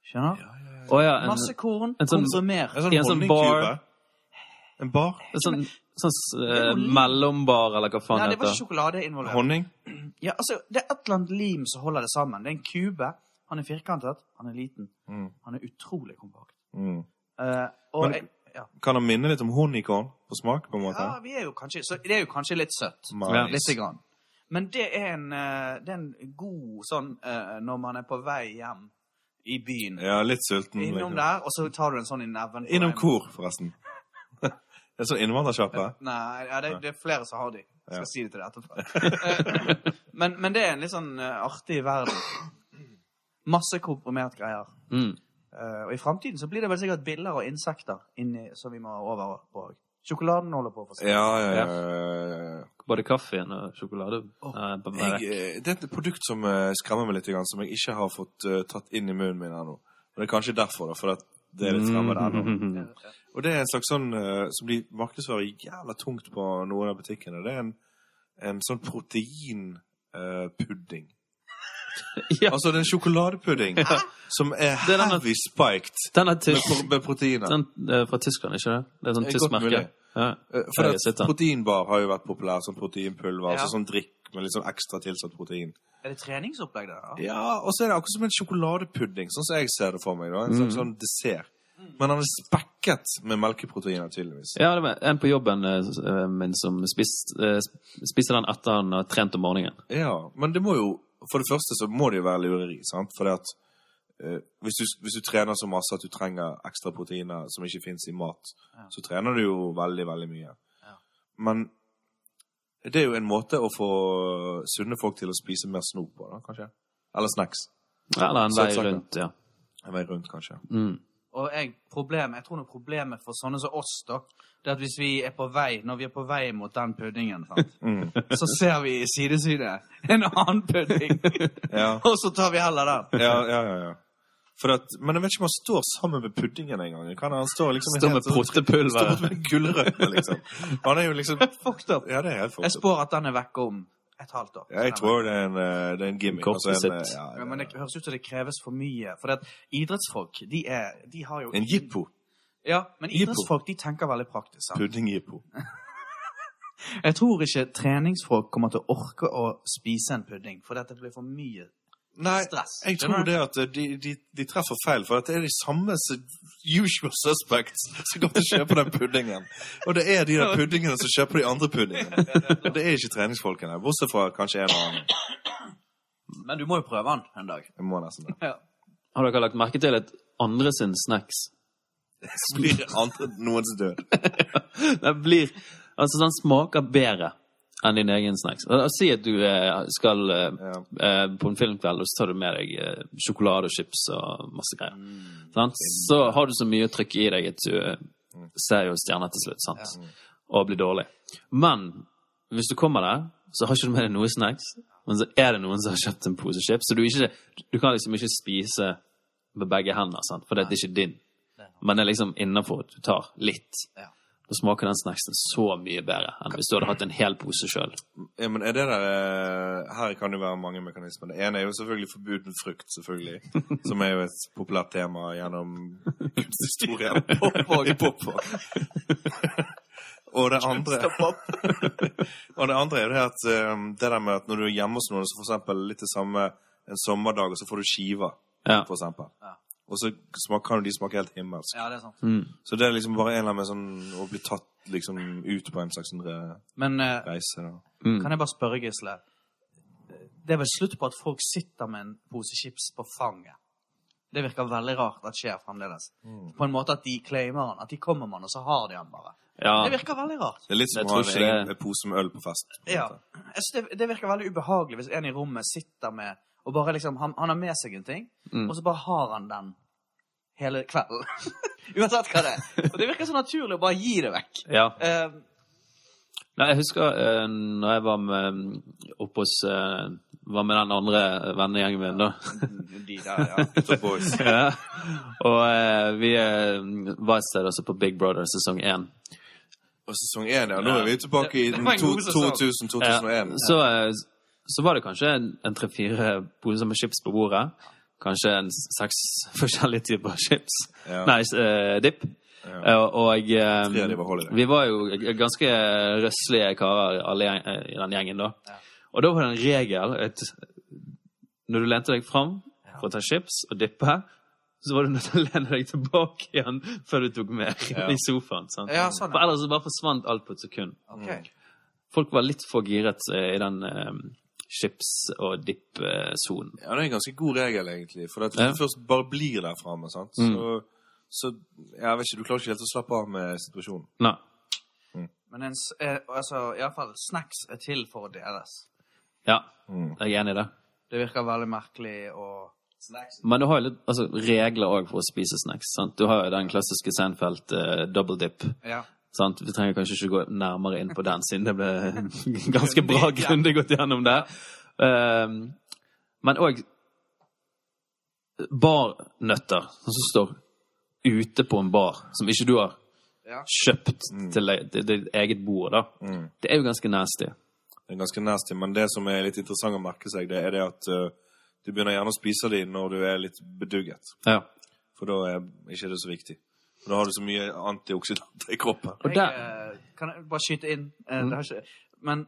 Skjønner?
Ja, ja, ja.
Å ja, en,
Masse korn,
en sånn-
komprimert.
En sånn,
I en sånn
honningkube.
bar.
En bar?
en sånn, sånn eh,
er jo-
mellombar, eller hva faen
Nei, det
det
var ikke
heter.
sjokolade involvert.
Honning?
Ja, altså, det er et eller annet lim som holder det sammen. Det er en kube. Han er firkantet, han er liten.
Mm.
Han er utrolig kompakt.
Mm.
Eh, og
Men-
jeg, ja.
Kan han minne litt om honeycorn på smak, på en måte?
ja, vi er jo kanskje Så det er jo kanskje litt søtt.
Nice.
Lite grann. Men det er en, eh, det er en god sånn eh, når man er på vei hjem i byen.
Ja, litt sulten.
Innom
liksom.
der, og så tar du en sånn i neven. på
Innom
veien.
kor, forresten. Det er sånn innvandrersjappe.
Nei, ja, det, det er flere som har de. Jeg skal
Ja.
si det til deg etterpå. Eh, men, men det er en litt sånn eh, artig verden. Masse komprimert greier.
Mm.
Eh, og i framtiden så blir det vel sikkert biller og insekter inni, som vi må over på òg. Sjokoladen holder på å forsvinne.
Ja, ja, ja, ja. ja.
Både kaffen og sjokolade.
Åh,
Nei, bare-
Jeg, eh, det er et produkt som eh, skremmer meg litt, grann, som jeg ikke har fått eh, tatt inn i munnen min ennå. Og Det er kanskje derfor, da, for at det er litt fremmed ennå.
Mm.
Og det er en slags sånn eh, som de markedsfører jævla tungt på noen av butikkene. Det er en, en sånn proteinpudding.
Ja,
Altså, det er en sjokoladepudding som er
Det er Sånn- den-
heavy spiked
den er
med,
tysk.
pro- med proteiner.
Den er fra Tyskland, ikke det? Det er sånn
Eh,
tysk
godt
merke.
mulig.
Ja.
Eh, For
Jeg
at
sitter.
proteinbar har jo vært populær som proteinpulver.
Ja.
Altså sånn drikk med litt sånn ekstra tilsatt protein.
Er det treningsopplegg der? da?
Ja, og så er det akkurat som en sjokoladepudding, sånn som jeg ser det for meg. da. En
Mm.
slags sånn dessert. Men han er spekket med melkeproteiner, tydeligvis.
Ja, det var en på jobben eh, s- eh, min som spist, eh, sp- spiste den etter han har trent om morgenen.
Ja, men det må jo For det første så må det jo være lureri, sant? For det at eh, hvis, du, hvis du trener så masse at du trenger ekstra proteiner som ikke fins i mat,
Ja.
så trener du jo veldig, veldig mye.
Ja.
Men det er jo en måte å få sunne folk til å spise mer snop på, da, kanskje. Eller snacks.
Ja, Eller en
Søt
vei
sak, ja.
rundt, ja.
En vei rundt, kanskje.
Mm.
Og jeg, problemet, jeg tror noe problemet for sånne som oss, da, det er at hvis vi er på vei, når vi er på vei mot den puddingen, sant,
Mm.
så ser vi i sidesynet en annen pudding,
Ja.
og så tar vi heller den.
Ja, ja, ja. ja. For at, men jeg vet ikke om han står sammen med puddingen engang. Kan han stå liksom
Står med
helt sånn- står
prottepulver.
med gullrøtter, liksom. Han er jo liksom
Fucked up.
Ja, det er helt
Jeg
fucked up.
spår at den er vekke om et halvt år.
Ja, jeg tror det er en, eh, det er en gimmick.
Kort
altså en, eh,
visitt.
ja,
Ja, men
det
det høres ut som det kreves for mye. For det at idrettsfolk, de, er, de har jo
er en jippo.
Ja, men
Jippo.
idrettsfolk de tenker veldig praktisk. Sant?
Pudding-jippo.
Jeg tror ikke treningsfolk kommer til å orke å spise en pudding, for dette blir for mye
Nei,
stress.
jeg tror det at eh, de, de, de treffer feil, for at det er de samme s- usual suspects som går til å kjøpe den puddingen. Og det er de der puddingene som kjøper de andre puddingene. Og det er ikke treningsfolkene, bortsett fra kanskje en og annen.
Men du må jo prøve den en dag.
Jeg må nesten det.
Ja.
Har dere lagt merke til at andre sin snacks
Så blir det andre noens død.
Den blir Altså, den smaker bedre enn din egen snacks. Altså, Si at du eh, skal eh, eh, på en filmkveld, og så tar du med deg eh, sjokolade og chips og masse greier.
Mm.
Sant? Så har du så mye trykk i deg at du eh, ser jo stjerner til slutt, sant? Og blir dårlig. Men hvis du kommer der, så har ikke du med deg noe snacks, men så er det noen som har kjøpt en pose chips, så du, ikke, du kan liksom ikke spise med begge hender, sant? For det er ikke din. Men det er liksom innenfor, du tar litt.
Ja.
Da smaker den snacksen så mye bedre enn hvis du hadde hatt en hel pose sjøl.
Ja, men er det der, eh, Her kan det være mange mekanismer. Det ene er jo selvfølgelig forbuden frukt, selvfølgelig. Som er jo et populært tema gjennom kunsthistorien. I Popvåg. Og det andre Og det andre er jo det at eh, det der med at når du er hjemme hos noen, så for eksempel litt det samme en sommerdag, og så får du skiver,
Ja.
for eksempel.
Ja.
Og så smak, kan jo de smake helt himmelsk.
ja, det er sant.
Så det er liksom bare en eller annen sånn å bli tatt liksom ut på en slags sånn re-
Men eh,
reise. da.
kan jeg bare spørre, Gisle? Det er vel slutt på at folk sitter med en pose chips på fanget? Det virker veldig rart at skjer fremdeles. På en måte at de claimer den. At de kommer med den, og så har de den bare.
Ja.
Det virker veldig rart.
Det er litt som
Jeg
å ha
tror
en
ikke det-
egen pose med øl på fest. på en
Ja.
måte.
Jeg synes det, det virker veldig ubehagelig hvis en i rommet sitter med og bare liksom, Han, han har med seg en ting, og så bare har han den hele kvelden. Uansett hva det er. Og det virker så naturlig å bare gi det vekk.
ja.
Eh,
Nei, jeg husker uh, når jeg var med mm, oppe hos eh, Var med den andre eh, vennegjengen min, da.
de der, ja.
The Boys.
ja. Og eh, vi eh, var et sted også på Big Brother sesong én.
Og sesong én, ja. Nå er vi tilbake i
Det- det var en god sesong.
2000-2001.
Så, eh, så var det kanskje en- en tre-fire poser med chips på bordet. Kanskje en s- seks forskjellige typer chips.
Ja.
Nei, s- eh, dipp. Eh, og eh,
Tre av de var holiday.
vi var jo g- ganske røslige karer alle gjeng, eh, i den gjengen da. Og da var det en regel at når du lente deg fram for å ta chips og dippe, så var du nødt til å lene deg tilbake igjen før du tok mer i sofaen. Sant?
Ja, sånn, ja.
For ellers så bare forsvant alt på et sekund
Ok.
folk var litt for giret eh, i den eh, chips- og eh, dipp-sonen.
Ja, det er en ganske god regel, egentlig. For at hvis
Ja.
du først bare blir der framme, sant?
Mm.
så, så jeg vet ikke, du klarer ikke helt å slappe av med situasjonen.
Nei.
Men en, s- eh, altså, iallfall snacks er til for å deles.
Ja, jeg er enig i det.
Det virker veldig merkelig å
Men du har jo litt altså, regler òg for å spise snacks. Sant? Du har jo den klassiske Seinfeld eh, double dip.
Ja.
Sant? Vi trenger kanskje ikke gå nærmere inn på den, siden det ble ganske bra grundig gått gjennom der. Ehm, men òg barnøtter som står ute på en bar, som ikke du har
Ja.
kjøpt
Mm.
til deg- til ditt eget bord, da. Det er jo ganske nasty.
Det er ganske nasty, men det som er litt interessant å merke seg, det er det at eh, du begynner gjerne å spise de når du er litt bedugget.
Ja.
For da er ikke det så viktig. For Da har du så mye antioksidanter i kroppen.
Og
Jeg,
der,
eh, kan jeg bare skyte inn? Eh,
Mm.
det har ikke, men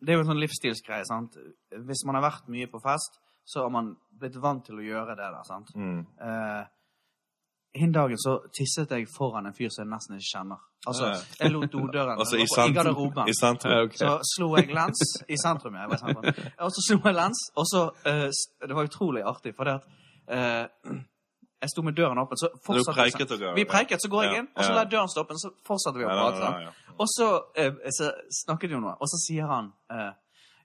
det er jo en sånn livsstilsgreie, sant? Hvis man har vært mye på fest, så har man blitt vant til å gjøre det der, sant?
Mm.
Eh, Hin dagen så tisset jeg foran en fyr som jeg nesten ikke kjenner. Altså,
Ja.
jeg lot dodøren
Altså i
jeg var på- i
sentrum.
garderoben.
I sentrum.
Ja, eh, ok.
Så slo jeg lens i sentrum, ja. jeg var i sentrum. Og så slo jeg lens, og så eh, s- Det var utrolig artig, for det at eh, Jeg sto med døren åpen, så fortsatte
preiket dere,
Vi
ja.
preiket, så går jeg
Ja,
inn, og så
ja.
la jeg døren stå åpen, så fortsatte vi å
Ja,
prate.
ja, ja,
sant? Og så, eh, så snakket vi om noe, og så sier han eh,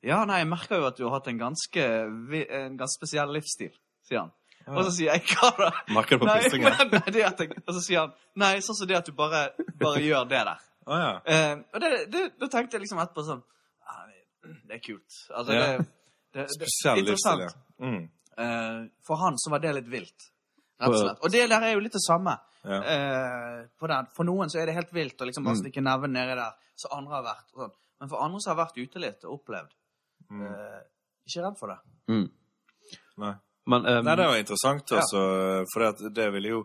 Ja, nei, jeg merker jo at du har hatt en ganske, vi- en ganske spesiell livsstil, sier han. Og så sier jeg hva da?
Merker det på
Nei,
pustingen.
nei, det er at jeg, og så sier han nei, sånn som det at du bare, bare gjør det der.
Ah, ja.
Eh, og det, det, da tenkte jeg liksom etterpå sånn ah, det- Det er kult. Altså,
Ja.
det, det, det,
Spesiell livsstil,
interessant.
ja. Mm.
Eh, for han så var det litt vilt. Rett og slett. Og det der er jo litt det samme.
Ja. Mm.
Eh, på den. For noen så er det helt vilt å liksom bare stikke neven nedi der, så andre har vært og sånn. Men for andre som har vært ute litt og opplevd eh, Ikke redd for det.
mm, Nei.
men ehm,
Nei, det var interessant, altså. For det, at det ville jo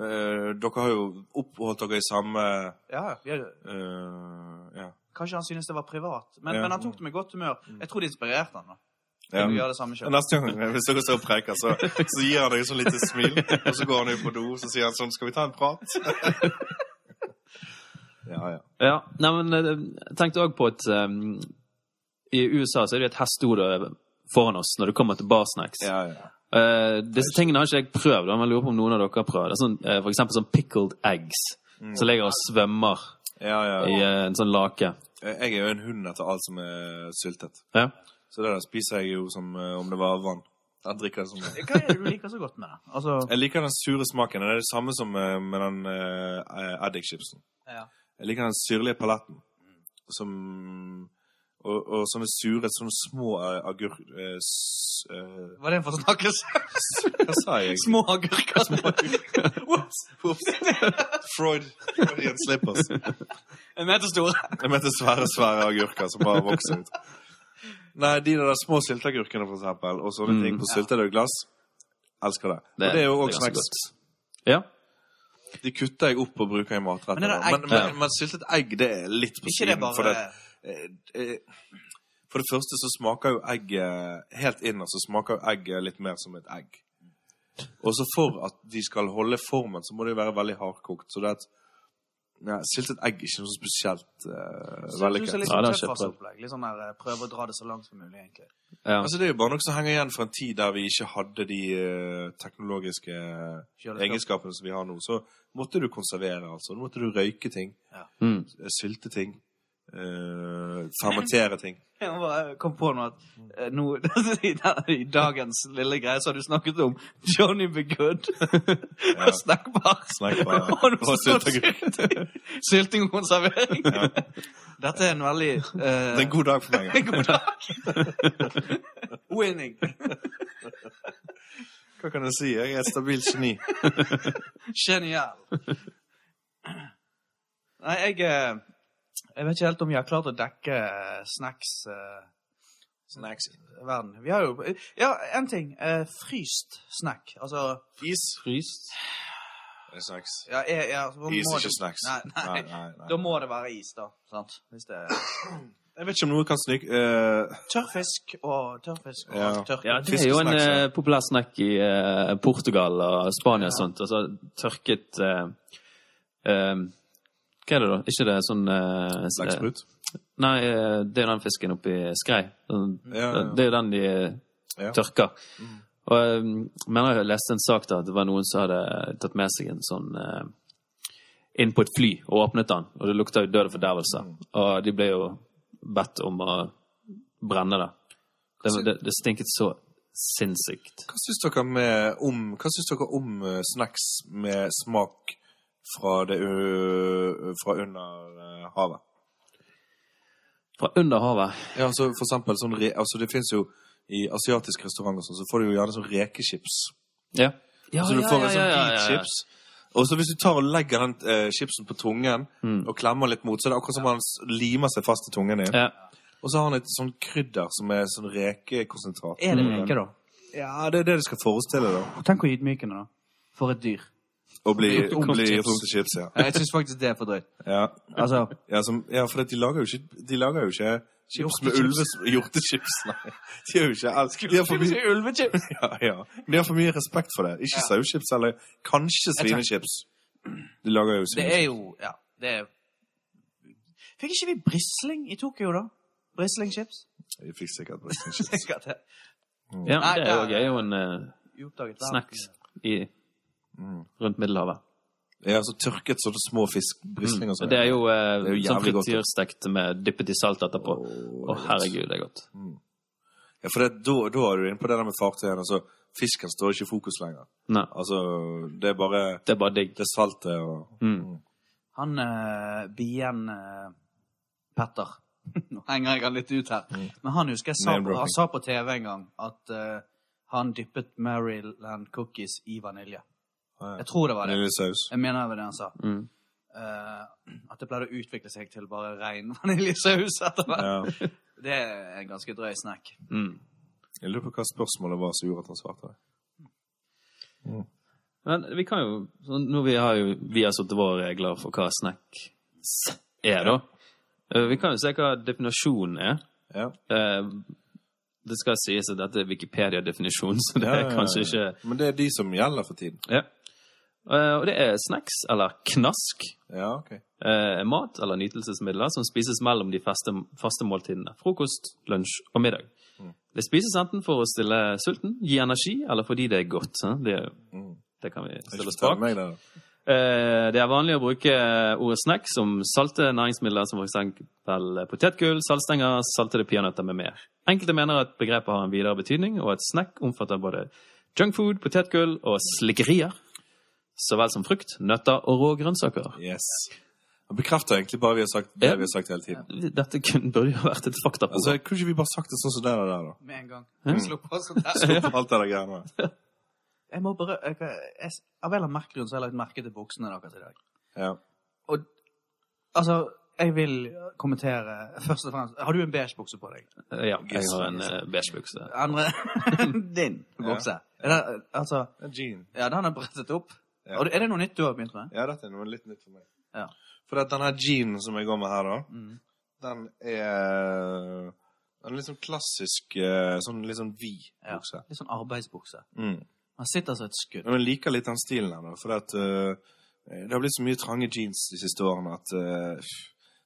eh, Dere har jo oppholdt dere i samme
Ja, vi er,
eh, Ja.
Kanskje han syntes det var privat, men,
Ja. Mm.
men han tok det med godt humør. Jeg tror det inspirerte han da.
ja. altså-
Til å gjøre det samme selv.
Neste gang hvis dere står og preker, så, så gir han deg et sånn lite smil, og så går han ut på do og så sier han sånn Skal vi ta en prat? ja, ja.
ja, nei, men eh, jeg tenkte òg på at ehm, i USA så er det jo et hestehode foran oss når det kommer til barsnacks.
ja, ja.
Eh, disse tingene har ikke jeg prøvd, da, men jeg lurer på om noen av dere har prøvd. Det er sånn, eh, for eksempel sånn pickled eggs, som ligger og svømmer
ja,
i
Mm. ja.
eh, en sånn lake.
Jeg er jo en hund etter alt som er syltet.
Ja.
Så det der spiser jeg jo som eh, om det var vann. Jeg drikker det som
Hva er det du liker så godt med det? Altså,
Jeg liker den sure smaken. Det er det samme som eh, med den uh, eddikchipsen.
ja. Mm.
Jeg liker den syrlige paletten. Som og, og sånne sure, sånne små uh, agurk... eh, s- eh,
Var det en forsnakkelse?
hva sa jeg?
Små agurker. Ops.
Ups. Freud. Freudian slippers.
En meter store.
Jeg mente svære, svære agurker som bare vokser ut. Nei, de der små sylteagurkene, for eksempel, og sånne ting på syltetøy glass. Elsker det.
Mm. Det-
og det er jo
det er
også
ganske
snacks.
ja.
De kutter jeg opp og bruker i matretter.
Men er det
da.
egg?
Men, men, men syltet egg, det er litt på
Ikke det
siden.
bare-
For det, eh, eh, for det første så smaker jo egget helt innerst, så smaker jo egget litt mer som et egg. Og så for at de skal holde formen, så må det jo være veldig hardkokt. Så det er at Nei, syltet egg er ikke noe så spesielt eh,
Så du
vellykket.
ser litt
Ja,
sånn
det har jeg
kjøttfarsopplegg. Litt sånn der eh, prøve å dra det så langt som mulig, egentlig.
ja.
Altså, det er jo bare noe som henger igjen fra en tid der vi ikke hadde de eh, teknologiske
Kjøleskap.
egenskapene som vi har nå. Så måtte du konservere, altså. Nå måtte du røyke ting.
Ja.
Mm.
Sylte ting. eh, fermentere ting.
Jeg bare kom på noe at eh, nå, i da- i dagens lille greie så har du snakket om Johnny Be Good og snackbar.
Snackbar, ja.
Og nå
Og
står
sylteagurk.
sylting. Sylting og konservering. Dette er en veldig eh,
Det er en god dag for meg.
god dag. Winning.
Hva kan jeg si? Jeg er et stabilt geni.
Genial. Nei, jeg eh, Jeg vet ikke helt om vi har klart å dekke eh, snacks-verden.
Snacks.
vi har jo Ja, én ting. eh, fryst snack. Altså
Is.
Fryst.
Det er snacks.
ja, jeg, ja, så må
Is er
det-
ikke snacks.
Nei, nei.
Nei, nei, nei.
Da må det være is, da. Sant? Hvis det er
Jeg vet ikke om noe kan snyke eh,
tørrfisk og tørrfisk og
Ja.
tørk.
Ja, det er jo en
Fiskesnacks, ja.
eh, populær snack i eh, Portugal og Spania og sånt. Altså tørket eh, eh, Hva er det, da? Ikke det sånn eh,
Lakseprut.
Nei, eh, det er jo den fisken oppi skrei. Den-
Ja, ja, ja.
Det er jo den de eh,
Ja.
tørker. Og jeg mener jeg leste en sak da, at det var noen som hadde eh, tatt med seg en sånn eh, inn på et fly og åpnet den, og det lukta jo død og fordervelse. Og de ble jo bedt om å brenne det. Det,
Hva sy-
det, det stinket så sinnssykt.
Hva syns dere, med- om- hva syns dere om eh, snacks med smak fra, det, ø- fra under eh, havet?
Fra under havet.
Ja, altså for eksempel sånn re, altså Det fins jo i asiatiske restauranter sånn, så får du jo gjerne sånn rekechips.
Ja.
så du får en sånn hvit chips. Og så hvis du tar og legger den eh, chipsen på tungen
Mm.
og klemmer litt mot, så er det akkurat som han s- limer seg fast i tungen din.
Ja.
Og så har han et sånn krydder som er sånn rekekonsentrat. Mm.
Er det reke, da?
Ja, det er det du skal forestille deg, da.
Tenk hvor ydmykende, da. For et dyr.
Å bli
Rundt om
bli
chips.
rundt i chips, ja.
Jeg syns faktisk det er for drøyt.
Ja,
Altså,
ja, som, ja for at de lager jo ikke, de lager jo ikke chips med ulves... Hjortechips, nei. De har jo ikke de har for mye,
ulvechips!
ja, ja. De har for mye respekt for det. Ikke sauechips, eller kanskje
Jeg tenker-
svinechips. De lager jo
Det er
svinechips.
jo Ja, det er Fikk ikke vi brisling i Tokyo, da? Brislingchips?
Jeg fikk sikkert svinechips.
Sikkert det.
ja,
Nei,
det er jo-
ja.
er jo en eh,
Vi oppdaget verden.
snacks i, rundt Middelhavet.
Ja, så tørket sånne små fisk, brisling og sånn.
Mm. Det er jo, eh,
Det er jo
sånn
jævlig godt.
frityrstekt med dyppet i salt etterpå. Å,
det er
herregud, det er godt.
Ja, for det, da, da er du inne på det der med fartøyene, altså fisken står ikke i fokus lenger.
Nei,
Altså, det er bare
det er bare digg. Mm,
det saltet og
Han eh, bien eh, Petter Nå henger jeg han litt ut her. Men han husker jeg sa,
Name-dropping.
han sa på TV en gang at eh, han dyppet Maryland cookies i vanilje.
Ja, ja.
Jeg tror det var det.
vaniljesaus.
Jeg mener det var det han sa.
Mm.
Eh, at det pleide å utvikle seg til bare ren vaniljesaus etter hvert.
Ja.
Det er en ganske drøy snack.
Mm.
Jeg lurer på hva spørsmålet var som gjorde at han svarte det.
Men vi kan jo så Nå vi har jo vi har satt våre regler for hva snacks er, da. Eh, Vi kan jo se hva definisjonen er.
Ja.
Eh, Det skal sies at dette er Wikipedia-definisjonen, så det
Ja, ja,
er
ja,
kanskje ikke
ja. Men det er de som gjelder for tiden.
ja. Eh, Og det er snacks, eller knask,
Ja, ok.
eh, er mat eller nytelsesmidler som spises mellom de faste, faste måltidene. Frokost, lunsj og middag. Det spises enten for å stille sulten, gi energi, eller fordi det er godt. sant? Det, det kan vi
Ikke
stille oss
fortell
bak.
meg det, da.
Eh, Det er vanlig å bruke ordet snack som salte næringsmidler som f.eks. potetgull, saltstenger, saltede peanøtter med mer. Enkelte mener at begrepet har en videre betydning, og at snack omfatter både junkfood, potetgull og slikkerier, så vel som frukt, nøtter og rå grønnsaker.
Yes. Han bekrefter egentlig bare vi har sagt, det
Ja.
vi har sagt hele tiden.
Dette kun, burde jo vært et faktaprogram.
Altså, Kunne ikke vi bare sagt det sånn som det der, da?
Med en gang. Jeg slo på sånn der.
Slupp alt det der greiene der.
Jeg må bare, jeg, jeg, av en eller annen merkelig grunn så har jeg lagt merke til buksene deres i dag.
Ja.
Og altså, jeg vil kommentere først og fremst Har du en beige bukse på deg?
ja, jeg har en eh, beige bukse.
Andre din bukse. Er det, altså,
En Jean.
ja, den er brettet opp.
Ja.
Og Er det noe nytt du har begynt med?
Ja, dette er noe litt nytt for meg.
Ja. Mm.
For at denne jeanen som jeg går med her, da, den er Den er litt sånn klassisk eh, sånn litt sånn vid
Ja.
bukse.
Litt sånn arbeidsbukse.
Mm.
Man sitter som et skudd.
Men jeg liker litt den stilen her, da. For at, eh, det har blitt så mye trange jeans de siste årene at eh,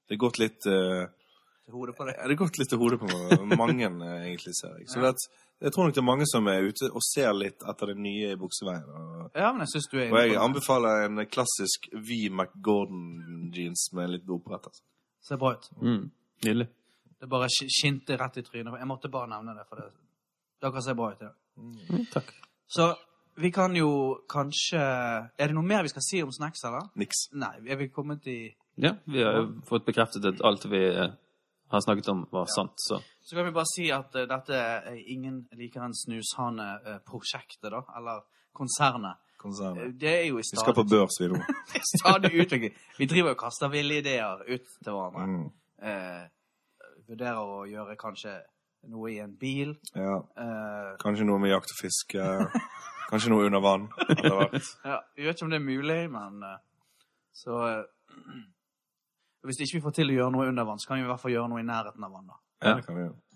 det har gått litt eh,
til hodet på deg.
Ja, det har gått litt til hodet på meg. mange, eh, egentlig, ser jeg. Så det, at- jeg tror nok det er mange som er ute og ser litt etter det nye i bukseveien. Og,
Ja, men jeg syns du er
og jeg
inne på det.
anbefaler en klassisk V. McGordon-jeans med litt opprettet. altså.
Ser bra ut.
Mm. Nydelig.
Det bare sk- skinte rett i trynet. Jeg måtte bare nevne det, for det. dere ser bra ut i dag.
Mm, takk.
Så vi kan jo kanskje Er det noe mer vi skal si om snacks, eller?
Niks.
Nei, er vi kommet i
Ja, vi har jo fått bekreftet at alt vi eh, har snakket om, var sant, så
Så kan vi bare si at eh, dette er Ingen liker en snushane-prosjektet, da. Eller konsernet.
konsernet.
Det er jo i
Vi skal på
stadig,
børs, vi nå.
stadig utvikling. Vi driver og kaster ville ideer ut til hverandre.
Mm.
Eh, vurderer å gjøre kanskje noe i en bil.
Ja.
Eh,
Kanskje noe med jakt og fiske. Kanskje noe under vann. etter hvert.
ja, vi vet ikke om det er mulig, men eh, så eh, Hvis ikke vi får til å gjøre noe under vann, så kan vi i hvert fall gjøre noe i nærheten av vann. da.
Ja, det kan vi gjøre.